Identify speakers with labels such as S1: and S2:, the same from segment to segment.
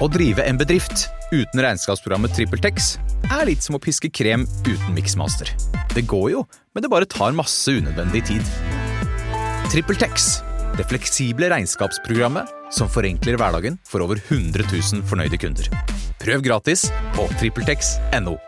S1: Å drive en bedrift uten regnskapsprogrammet TrippelTex er litt som å piske krem uten miksmaster. Det går jo, men det bare tar masse unødvendig tid. TrippelTex, det fleksible regnskapsprogrammet som forenkler hverdagen for over 100 000 fornøyde kunder. Prøv gratis på TrippelTex.no.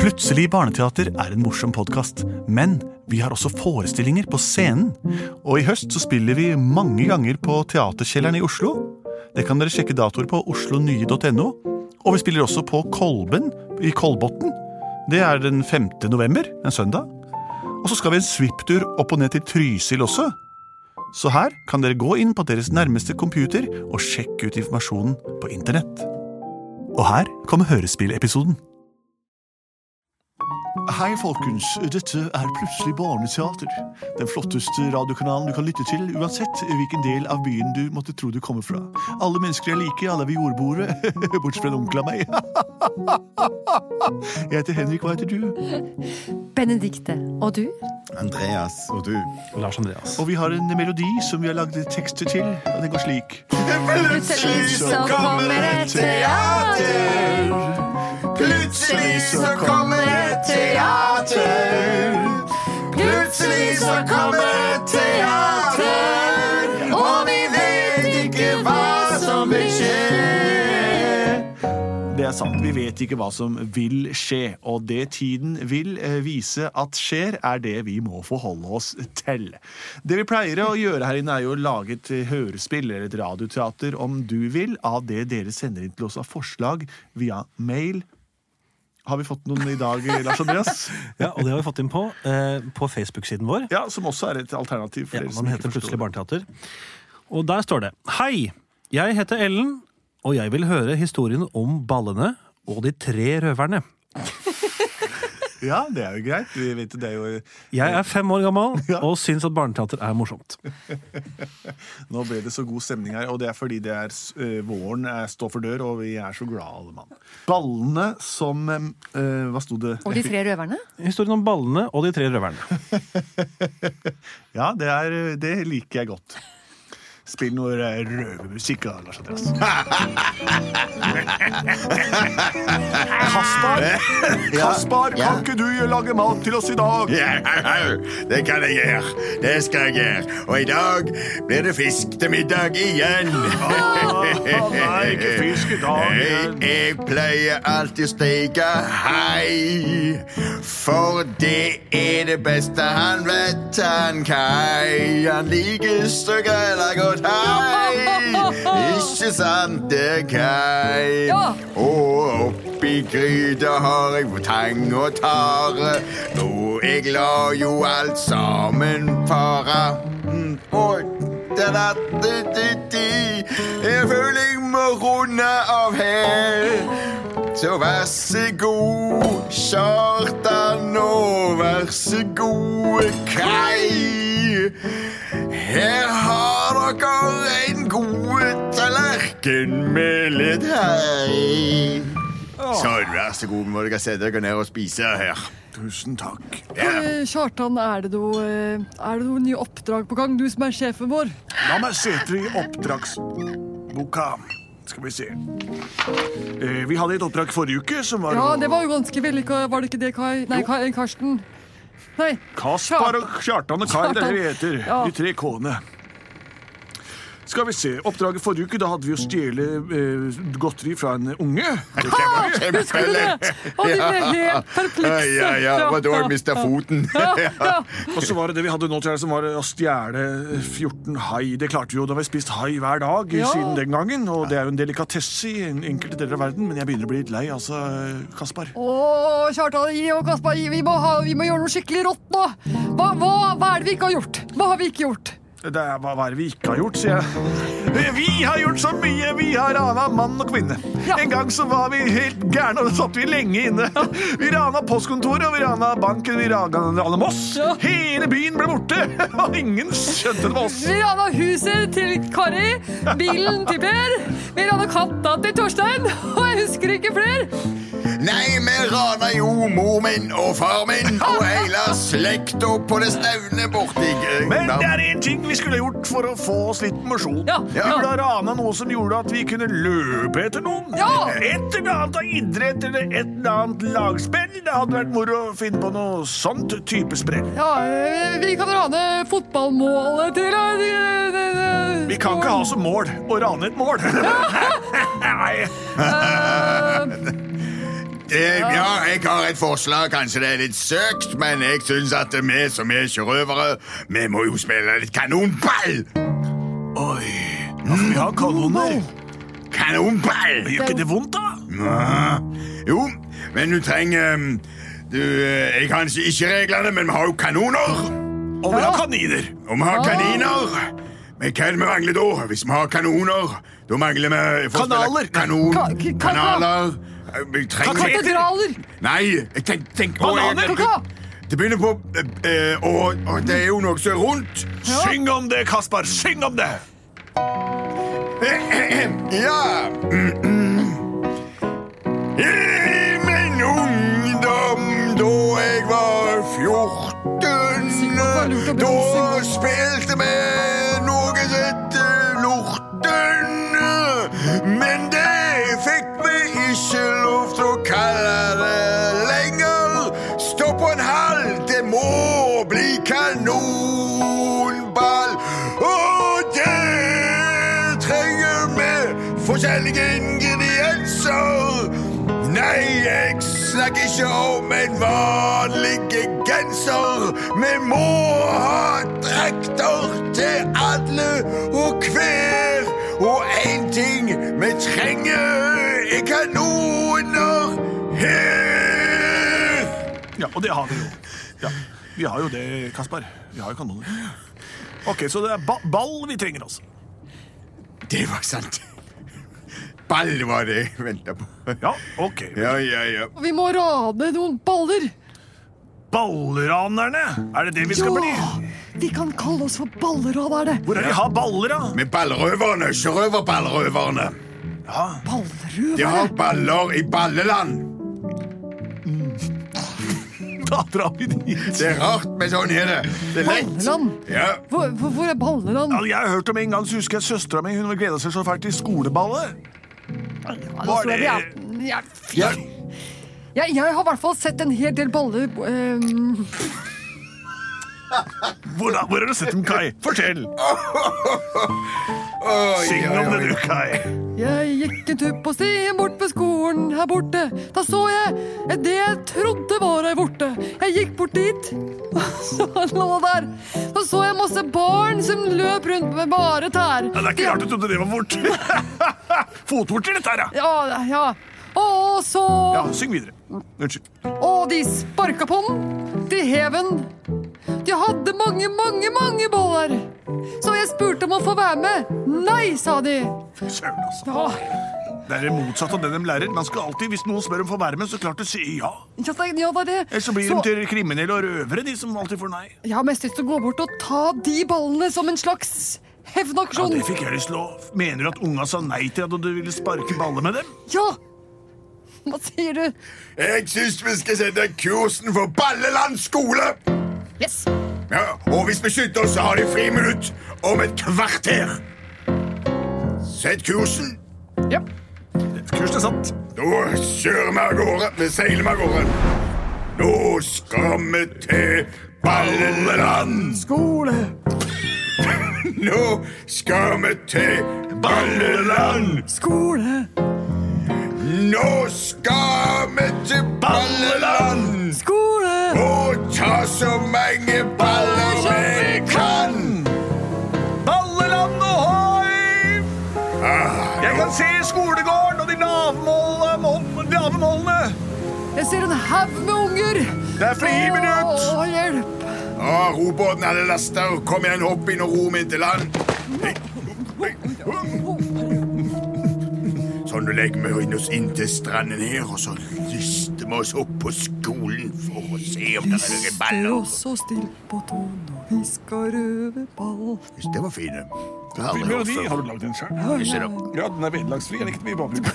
S2: Plutselig barneteater er en morsom podkast, men vi har også forestillinger på scenen. Og i høst så spiller vi mange ganger på Teaterkjelleren i Oslo. Det kan dere sjekke datoer på oslonye.no. Og vi spiller også på Kolben i Kolbotn. Det er den 5. november, en søndag. Og så skal vi en svipptur opp og ned til Trysil også. Så her kan dere gå inn på deres nærmeste computer og sjekke ut informasjonen på internett. Og her kommer hørespillepisoden. Hei, folkens. Dette er Plutselig barneteater. Den flotteste radiokanalen du kan lytte til, uansett hvilken del av byen du måtte tro du kommer fra. Alle mennesker er like, alle er ved jordbordet, bortsett fra en onkel av meg. Jeg heter Henrik, hva heter du?
S3: Benedikte. Og du?
S4: Andreas og du.
S5: Lars Andreas.
S2: Og vi har en melodi som vi har lagd tekster til, og den går slik.
S3: Plutselig så kommer et teater.
S4: Plutselig så kommer et teater. Plutselig så kommer et teater. Og vi vet ikke hva som vil skje.
S2: Det er sant, vi vet ikke hva som vil skje, og det tiden vil eh, vise at skjer, er det vi må forholde oss til. Det vi pleier å gjøre her inne, er jo å lage et eh, hørespill eller et radioteater, om du vil, av det dere sender inn til oss av forslag via mail. Har vi fått noen i dag, eh, Lars Andreas?
S5: Ja, og det har vi fått inn på eh, På Facebook-siden vår.
S2: Ja, Som også er et alternativ. for
S5: Ja,
S2: dere som
S5: den
S2: ikke
S5: heter
S2: forstår
S5: Plutselig
S2: det.
S5: barneteater. Og der står det Hei! Jeg heter Ellen, og jeg vil høre historien om ballene og de tre røverne.
S2: Ja, det er jo greit. Vi vet, det er jo,
S5: Jeg er fem år gammel og syns at barneteater er morsomt.
S2: nå ble det så god stemning her, og det er fordi det er, s- eh, våren er, står for dør, og vi er så glad alle mann. Ballene som eh, Hva sto det?
S3: Og de tre røverne?
S5: Historien om ballene og de tre røverne.
S2: Ja, det, er, det liker jeg godt. Spill noe eh, røvermusikk, da, Lars Andreas. Kaspar, Kaspar,
S4: Ja.
S2: kan ikke du lage mat til oss i dag?
S4: Ja, au, det kan jeg gjøre. Det skal jeg gjøre. Og i dag blir det fisk til middag igjen.
S2: nei, ikke fisk i dag
S4: Jeg,
S2: igjen.
S4: jeg pleier alltid å steke hai, for det er det beste han vet han kai. Han liker så grella godt hai. Ikke sant, det, Kai?
S3: Ja.
S4: Og oppi gryta har jeg tang og tare. Og jeg lar jo alt sammen fare. Mm, Og den attitudi Jeg føler jeg må runde av her. Så vær så god, Kjartan, og vær så god, Kai. Her har dere en god tallerken med litt hei. Sånn, vær så god, må dere sette dere ned og spise her.
S2: Tusen takk.
S4: Ja.
S6: Eh, Kjartan, er det noe, eh, er det noe nye oppdrag på gang, du som er sjefen vår?
S2: La meg se etter i oppdragsboka. Skal vi se. Eh, Vi hadde et oppdrag forrige uke som var
S6: Ja, det var jo ganske vellykka, var det ikke det, Kai? Nei, Kai, eh, Karsten. Nei.
S2: Kaspar og Kjartan og Kai, det er det vi heter.
S6: Ja.
S2: De tre K-ene. Skal vi se. Oppdraget forrige uke, da hadde vi å stjele eh, godteri fra en unge.
S6: Husker du det? Og de ble helt
S4: Ja,
S6: perplekse.
S4: ja, ja, og da har jeg mistet foten.
S6: Ja, ja.
S2: Og så var det det vi hadde nå til helgen, som var å stjele 14 hai. Det klarte vi jo. Da har vi spist hai hver dag eh,
S6: Ja.
S2: siden den gangen. Og det er jo en delikatesse i en- enkelte deler av verden, men jeg begynner å bli litt lei, altså, Kaspar.
S6: Å, Kjartan gi og Kaspar, gi- vi må, ha, vi må gjøre noe skikkelig rått nå. Hva, hva, hva er det vi ikke har gjort? Hva har vi ikke gjort?
S2: Det er, hva, hva er det vi ikke har gjort, sier jeg. Vi har gjort så mye! Vi har rana mann og kvinne.
S6: Ja.
S2: En gang så var vi helt gærne, og da satt vi lenge inne. Vi rana postkontoret, og vi rana banken, vi rana alle Moss.
S6: Ja.
S2: Hele byen ble borte, og ingen skjønte det var oss.
S6: Vi rana huset til Kari, bilen til Per, vi rana katta til Torstein, og jeg husker ikke flere.
S4: Nei, vi raner jo mor min og far min og hele slekta på det stevne borti
S2: Men det
S4: Grønland.
S2: er én ting vi skulle gjort for å få oss litt mosjon.
S6: Ja,
S2: Vi
S6: ja.
S2: burde ha rana noe som gjorde at vi kunne løpe etter noen.
S6: Ja.
S2: Et eller annet av idrett eller et eller annet lagspill. Det hadde vært moro å finne på noe sånt type sprell.
S6: Ja, eh, vi kan rane fotballmålet til eh, de- de- de-
S2: Vi kan ikke ha som mål å rane et mål. Nei.
S4: Eh, ja, jeg har et forslag. Kanskje det er litt søkt, men jeg syns at vi som er sjørøvere, vi må jo spille litt kanonball! Mm,
S2: Oi. Ja, for vi har kanoner.
S4: Kanonball!
S2: Gjør ikke det vondt, da?
S4: Jo, men du trenger um, du, eh, Jeg kan ikke- ikke reglene, men vi har jo kanoner.
S2: Og vi har kaniner.
S4: Og vi har kaniner. Men hva er det vi mangler da? Hvis vi har kanoner, da mangler vi for å spille
S2: Kanaler.
S4: Kanon,
S6: Ka- ka- ka-
S4: kanaler Eh, Vi trenger
S6: Katedraler!
S4: Nei, jeg tenk, tenk å, jeg-
S2: Bananer.
S6: Kaka!
S4: Det begynner på eh, eh, og, og det er jo noe som er rundt.
S2: Syng om det, Kaspar. Syng om det.
S4: Ja! Mm, mm. I min ungdom, da jeg var 14, da spilte vi noe som heter Lorten. Men det fikk vi ikke lov til å kalle det lenger. Stå på en hall, det må bli kanonball. Og det trenger vi forskjellige ingredienser. Nei, jeg snakker ikke om en vanlig genser. Vi må ha drakter til alle og hver. Og én ting vi trenger, er kanoner her.
S2: Ja, og det har vi jo. Ja. Vi har jo det, Kaspar. Vi har jo kanoner. Ok, Så det er ba ball vi trenger, altså.
S4: Det var sant. Ball var det jeg venta på.
S2: Ja, ok.
S4: Ja, ja, ja.
S6: Og vi må rane noen baller.
S2: Ballranerne! Er det det vi skal bli?
S6: vi kan kalle oss for ballranerne.
S2: Hvor er de har baller, da?
S4: Med ballrøverne. Sjørøverballrøverne. De
S6: Ballrøvere.
S4: har baller i balleland.
S2: Da drar vi dit.
S4: Det er rart, men sånn er det. Det er lett.
S6: Balleland.
S4: Ja.
S6: Hvor, hvor, hvor er Balleland?
S2: Ja, jeg har hørt om en gang, så husker jeg Søstera mi hun gleda seg så fælt til skoleballet.
S6: Altså,
S2: det-
S6: jeg, jeg, jeg, jeg har i hvert fall sett en hel del baller ehm,
S2: Hvor, da, hvor har du sett dem, Kai? Fortell!
S4: Oi,
S2: Syng
S4: oi,
S2: om det,
S4: oi.
S2: du, Kai.
S6: Jeg gikk en tur på stien bort ved skolen her borte. Da så jeg det jeg trodde var ei vorte. Jeg gikk bort dit, så han lå der. Da så jeg masse barn som løp rundt med bare tær.
S2: Ja, det er ikke rart du trodde det var vorter. Fotvorter, dette her, ja.
S6: Ja, ja. Og så
S2: ja. Syng videre. Unnskyld.
S6: Og de sparka på den. De hev den. De hadde mange, mange, mange boller. Så jeg spurte om å få være med. Nei, sa de.
S2: Søren, altså.
S6: Ja,
S2: Det er det motsatte av det de lærer. Man skal alltid, Hvis noen spør om å få være med, så klart du sier ja.
S6: ja, det- ja det er det.
S2: Ellers så blir de til kriminelle og røvere, de som alltid får nei.
S6: Jeg har mest lyst til å gå bort og ta de ballene som en slags
S2: Ja,
S6: hevnaksjon.
S2: det fikk jeg lyst til å Mener du at unga sa nei til deg da du ville sparke baller med dem?
S6: Ja! Hva sier du?
S4: Jeg syns vi skal sette kursen for Balleland skole.
S6: Yes!
S4: Ja, og hvis vi skynder oss, så har de friminutt om et kvarter. Sett kursen.
S6: Ja.
S2: Kursen er satt.
S4: Da kjører vi av gårde. Vi seiler vi av gårde. Nå skal vi til Balleland.
S2: Skole!
S4: Nå skal vi til Balleland.
S6: Skole,
S4: Nå skal vi til Balleland.
S6: skole,
S4: Og ta så mange baller vi kan!
S2: Balleland ohoi! Jeg kan se skolegården og de lave målene. mål- Lave målene.
S6: jeg ser en haug med unger.
S2: Det er friminutt.
S6: Å, hjelp!
S4: Å, robåten hadde laster. Kom igjen, hopp inn og ro meg inn til land. Sånn, nå legger vi inn oss inn til stranden her, og så lister vi oss opp på skolen for å se om det er noen
S6: Stå
S4: baller.
S6: så still på tå når vi skal røve ball.
S4: Det var fine. Det har jeg aldri hørt
S2: Melodi
S4: før.
S2: har du lagd den sjøl?
S4: Ikke det?
S2: Ja, den er vederlagsfri. Jeg likte mye bakgrunn.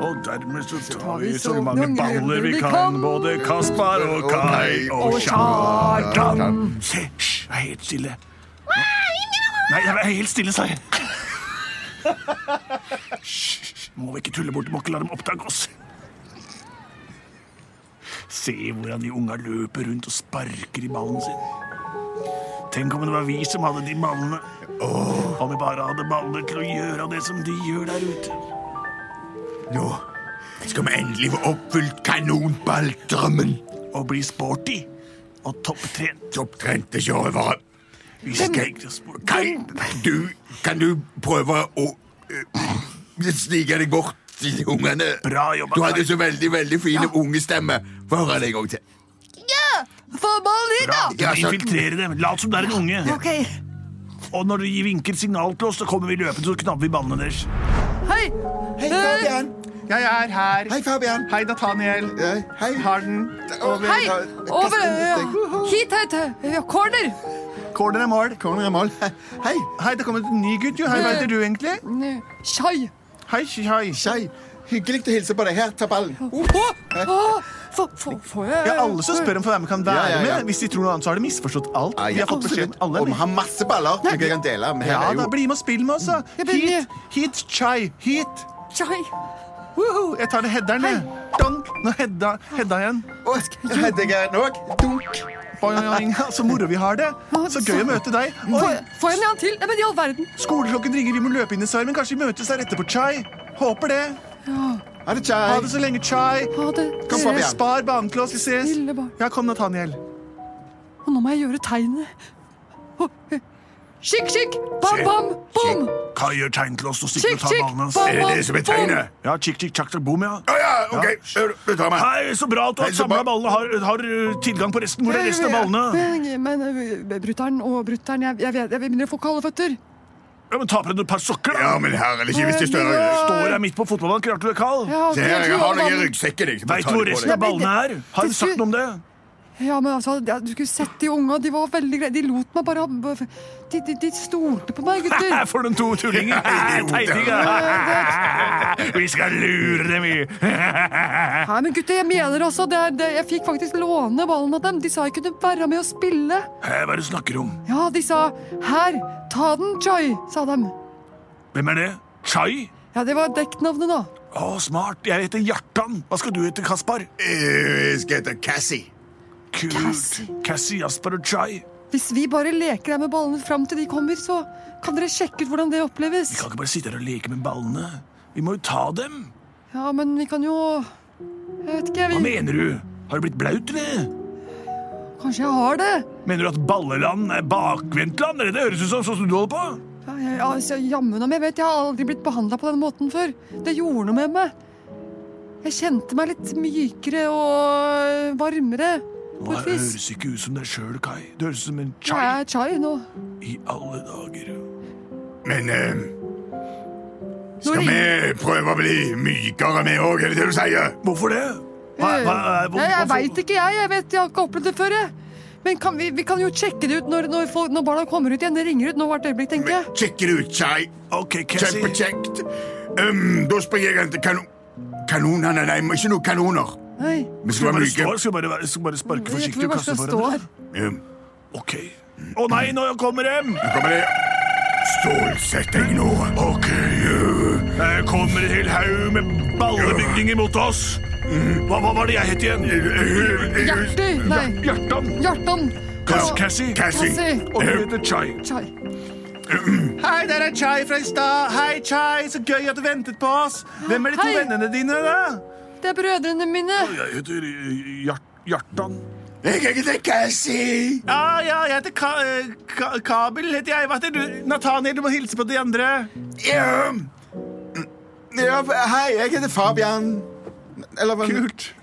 S2: Og dermed så tar vi så mange baller vi kan, både Kaspar og Kai og Kjartan. Se, hysj, vær helt stille. Nei, vær helt stille, sa jeg. Hysj, må vi ikke tulle bort, må ikke la dem oppdage oss. Se hvordan de unga løper rundt og sparker i ballen sin. Tenk om det var vi som hadde de ballene. Om vi bare hadde baller til å gjøre det som de gjør der ute.
S4: Nå skal vi endelig få oppfylt kanonballdrømmen.
S2: Og bli sporty og topptrent.
S4: Topptrente sjørøvere.
S2: Vi skal ikke sporty.
S4: Kan du, kan du prøve å eh, snike deg bort til ungene?
S2: Bra jobba,
S4: Du hadde
S2: Kai.
S4: så veldig, veldig fine ungestemme. Få høre det en gang til.
S6: Få ballen hit,
S2: Bra.
S6: da!
S2: Ikke infiltrere dem. Lat som det er en unge.
S6: Ok,
S2: Og når de vinker signal til oss, så kommer vi løpende så knabber vi ballene deres.
S6: hei! Eh,
S7: Hei, Fabian.
S8: Jeg er her.
S7: Hei, Fabian.
S8: Hei, Nathaniel.
S7: Eh, Hei.
S8: Har den.
S7: Over.
S6: Hei! Over! eh,
S7: Kasten.
S6: Hit, hit, hit! Corner!
S8: Corner er mål.
S7: Corner i mål. Hei.
S8: Hei, det kommer en ny gutt, jo. Hei, hva heter du egentlig?
S6: Mm, Shai!
S8: Hei, hei.
S7: Skei. Hyggelig å hilse på deg. Her, ta ballen.
S6: Åh, åh, få- få- eh, Får jeg
S8: Ja, alle som spør om for hvem kan være
S7: Ja, ja, ja.
S8: med. Hvis de tror noe annet, så har de misforstått alt.
S7: Ja, ja,
S8: Vi har fått beskjed om
S7: absolutt.
S8: alle. er
S7: Og vi
S8: med.
S7: har masse baller som vi kan dele. Men her
S8: Ja,
S7: er
S8: da
S7: jo
S8: bli med og spill med oss, da.
S6: Jeg blir
S8: Hit, hit, chai, hit.
S6: Shai!
S8: Woho, jeg tar det headeren, jeg. Donk. Nå hedda, hedda igjen.
S7: Å, Hedda Garen òg. Dunk.
S8: Boing, boing, boing. Så moro vi har det. Så gøy å møte deg.
S6: Får
S8: Oi,
S6: jeg- får jeg en annen til? Nei, men i all verden.
S8: skoleklokken ringer, vi må løpe inn i serven. Kanskje vi møtes her etterpå, chai. Håper det.
S7: Ha det,
S8: Ha
S7: Chai.
S8: det så lenge, chai.
S6: Ha det.
S7: Kom,
S6: Dere-
S7: Fabian.
S8: Spar banen til oss. Vi ses.
S6: Snille barn.
S8: Ja, kom, Nathaniel.
S6: Og nå må jeg gjøre tegnet. Åh, eh. Skikk, skikk! Bam, bam, bom!
S2: Kai gjør tegn til oss og stikker og
S6: Skikk,
S2: tar
S6: skikk!
S2: ballene hans.
S6: Bam,
S4: Er det
S6: bam,
S4: det som er
S6: bom!
S4: tegnet?
S2: Ja, tjikk, tjikk, tjakk, tjakk, boom, ja.
S4: Å ja, OK. Du tar meg.
S2: Hei, så bra at du har
S4: Hei, så
S2: samla
S4: bra.
S2: ballene og har, har uh, tilgang på resten. Hvor er resten av ballene?
S6: Men, men eh, brutter'n og brutter'n, jeg, jeg, jeg, jeg begynner å få kalde føtter.
S2: Ja, men Ta på deg et par sokker, da.
S4: Ja, men herre ikke hvis det står
S2: Står her midt på fotballbanen, klarte du det, Carl?
S6: Jeg har,
S4: Se her, jeg har noe i
S6: vann.
S4: ryggsekken. jeg. Så bare
S2: Veit
S4: ta
S2: du hvor
S4: det på
S2: resten
S4: deg.
S2: av ballene er? Har
S6: Det
S2: du sagt
S6: skulle-
S2: noe om det?
S6: Ja, men altså, ja, Du skulle sett de unga. De var veldig greie. De lot meg bare ha De, de, de stolte på meg,
S2: Her
S6: gutter.
S2: får de to tullinger. Teininger. Vi skal lure dem, vi.
S6: Nei, men gutter, jeg mener altså det er, det, Jeg fikk faktisk låne ballen av dem. De sa jeg kunne være med og spille.
S2: Hæ, Hva er det du snakker om?
S6: Ja, de sa 'her, ta den, Joy', sa dem.
S2: Hvem er det? Chai?
S6: Ja, det var dekknavnet, da.
S2: Å, smart. Jeg heter Hjartan. Hva skal du hete, Kaspar?
S4: Eh, Jeg skal hete Cassie.
S2: Kult.
S6: Cassie.
S2: Cassie, Jasper og Chai.
S6: Hvis vi bare leker her med ballene fram til de kommer, så kan dere sjekke ut hvordan det oppleves.
S2: Vi kan ikke bare sitte her og leke med ballene. Vi må jo ta dem.
S6: Ja, men vi kan jo Jeg vet ikke,
S2: Hva
S6: vi
S2: mener du? Har du blitt blaut, eller?
S6: Kanskje jeg har det?
S2: Mener du at balleland er bakvendtland? Er det det høres ut som sånn som du holder på?
S6: Ja, jeg- ja, altså, Jammen om jeg vet, jeg har aldri blitt behandla på den måten før. Det gjorde noe med meg. Jeg kjente meg litt mykere og varmere, på
S2: Det
S6: et vis.
S2: høres ikke ut som deg sjøl, Kai. Det høres ut som en
S6: Jeg
S2: Chai
S6: er chai nå.
S2: i alle dager.
S4: Men eh,
S6: Nå
S4: skal vi
S6: ringer-
S4: prøve å bli mykere, vi òg? Er det det du sier?
S2: Hvorfor det?
S6: Ja, Eh, jeg veit ikke, jeg. Jeg vet, jeg har ikke opplevd det før. jeg. Men kan vi, vi kan jo sjekke det ut når, når, folk, når barna kommer ut igjen. Det ringer ut nå hvert øyeblikk, tenker jeg.
S4: Sjekk det ut, Chai.
S2: Ok, Cassie.
S4: Kjempekjekt. Um, da springer jeg hen til kanon... Kanonene? Nei, men ikke noen kanoner.
S6: Nei.
S2: Skal
S4: Vi skal
S2: vi bare
S4: være myke.
S2: stå her? Skal vi bare, være- skal vi bare sparke
S6: Jeg
S2: forsiktig
S6: tror
S2: og kaste
S6: bare jeg
S2: foran
S6: står.
S2: dere?
S4: Um,
S2: Ok. Å nei, nå kommer dem!
S4: Nå kommer det Stålsett deg nå. OK. eh,
S2: Her kommer en hel haug med ballebygninger mot oss. Hva, hva var det jeg het igjen?
S4: eh, eh,
S6: Hjerter! Nei.
S2: Hjartan.
S6: Hjartan.
S2: Cass- Cassie.
S4: Cassie.
S6: Cassie.
S2: Og du heter Chai.
S6: Chai.
S8: Hei, der er Chai fra i stad. Hei, Chai, så gøy at du ventet på oss. Hvem er de to
S6: Hei.
S8: vennene dine, da?
S6: Det er brødrene mine.
S2: Jeg heter eh, Hjart- Hjartan.
S4: Jeg heter Cassie.
S8: Ja,
S5: Ah,
S8: ja, jeg heter Ka eh, Ka Kabel. heter jeg. Hva heter du? Nathaniel, du må hilse på de andre.
S4: Ja,
S7: Ja, hei, jeg heter Fabian. Eller hva?
S8: Kult.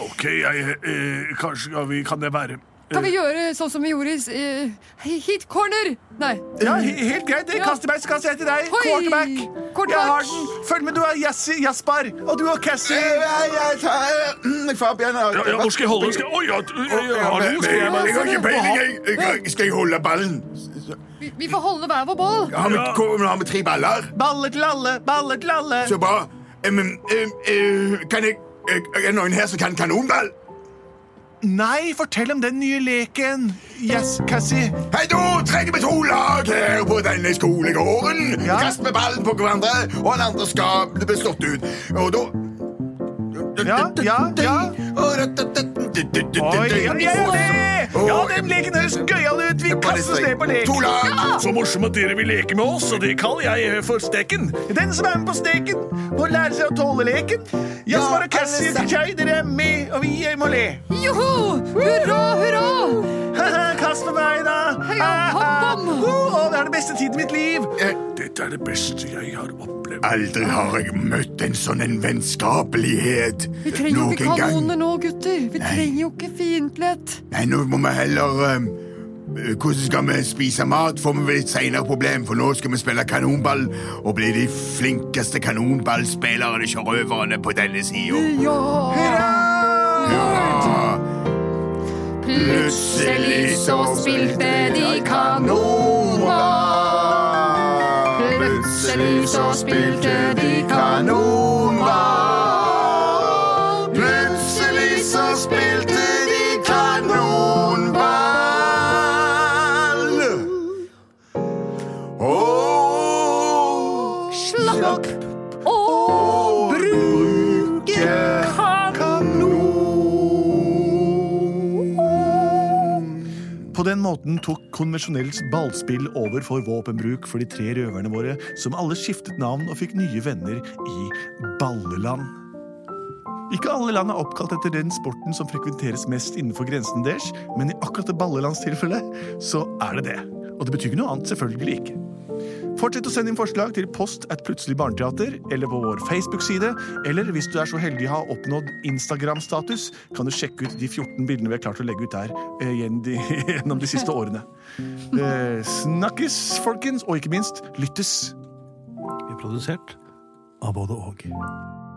S2: Ok, jeg eh, Kanskje ja, vi, kan jeg være
S6: Kan vi gjøre sånn som vi gjorde i eh, Hit corner? Nei.
S5: Ja, he- Helt greit. Jeg
S6: Ja.
S5: kaster meg, så kaster jeg til deg.
S6: Hoi!
S5: Quarterback.
S6: Quarterback.
S5: Jeg har den. Følg med, du er Jassi- Jaspar. Og du er Cassie.
S4: Jeg, jeg tar Fabian og
S5: Ja, ja, hvor skal jeg holde den? Skal jeg- Oi, ja, ja, ja, hallo, skal jeg
S4: Jeg
S5: bare-
S4: har ikke peiling. jeg- jeg- Skal jeg holde ballen?
S6: Vi, vi får holde hver vår ball.
S4: Har vi, hvor- har vi tre baller?
S5: Baller til alle, baller til alle.
S4: Så bra. Em, em, eh, kan jeg eh, Er det noen her som kan kanonball?
S5: Nei, fortell om den nye leken. Yes, Cassie.
S4: Hei, da trenger vi to lag her på denne skolegården.
S5: Ja.
S4: Kast med ballen på hverandre, og den andre skal bli slått ut. Og da
S5: Ja, ja, ja. Oi, ja, ja, ja, det. ja, den leken høres gøyal ut. Vi kaster oss ned på lek.
S4: To lag.
S5: Så morsom at dere vil leke med oss, og det kaller jeg eh, for Steken. Den som er med på Steken, må lære seg å tåle leken. Jasper og Cassie og Jay, dere er med, og vi eh, må le.
S6: Joho! Hurra, hurra!
S5: Kast på meg, da.
S6: Heia, hopp om.
S5: Oh, det er det beste tiden i mitt liv.
S9: Dette er det beste jeg har opplevd.
S4: Aldri har jeg møtt en sånn en vennskapelighet.
S6: Vi trenger jo ikke
S4: noen gang.
S6: kanoner nå, gutter. Vi trenger jo ikke fiendtlighet.
S4: Nei, nå må vi heller um, eh, Hvordan skal vi spise mat, får vi vel et senere problem, for nå skal vi spille kanonball og bli de flinkeste kanonballspillerne, sjørøverne, på denne sida.
S6: Ja!
S4: Ja,
S10: Plutselig så spilte de kanonball. Plutselig så spilte de kanonball. Plutselig så spilte de kanonball.
S6: Slapp og bruke
S2: På den måten tok konvensjonelt ballspill over for våpenbruk for de tre røverne våre, som alle skiftet navn og fikk nye venner i Balleland. Ikke alle land er oppkalt etter den sporten som frekventeres mest innenfor grensen deres, men i akkurat det Ballelands tilfelle, så er det det. Og det betyr ikke noe annet, selvfølgelig ikke. Fortsett å sende inn forslag til post at Plutselig barneteater, eller på vår Facebook-side, eller hvis du er så heldig å ha oppnådd Instagram-status, kan du sjekke ut de 14 bildene vi har klart å legge ut der eh, gjennom de, gjennom de siste årene. Eh, snakkes, folkens, og ikke minst lyttes.
S11: Vi er produsert av både og.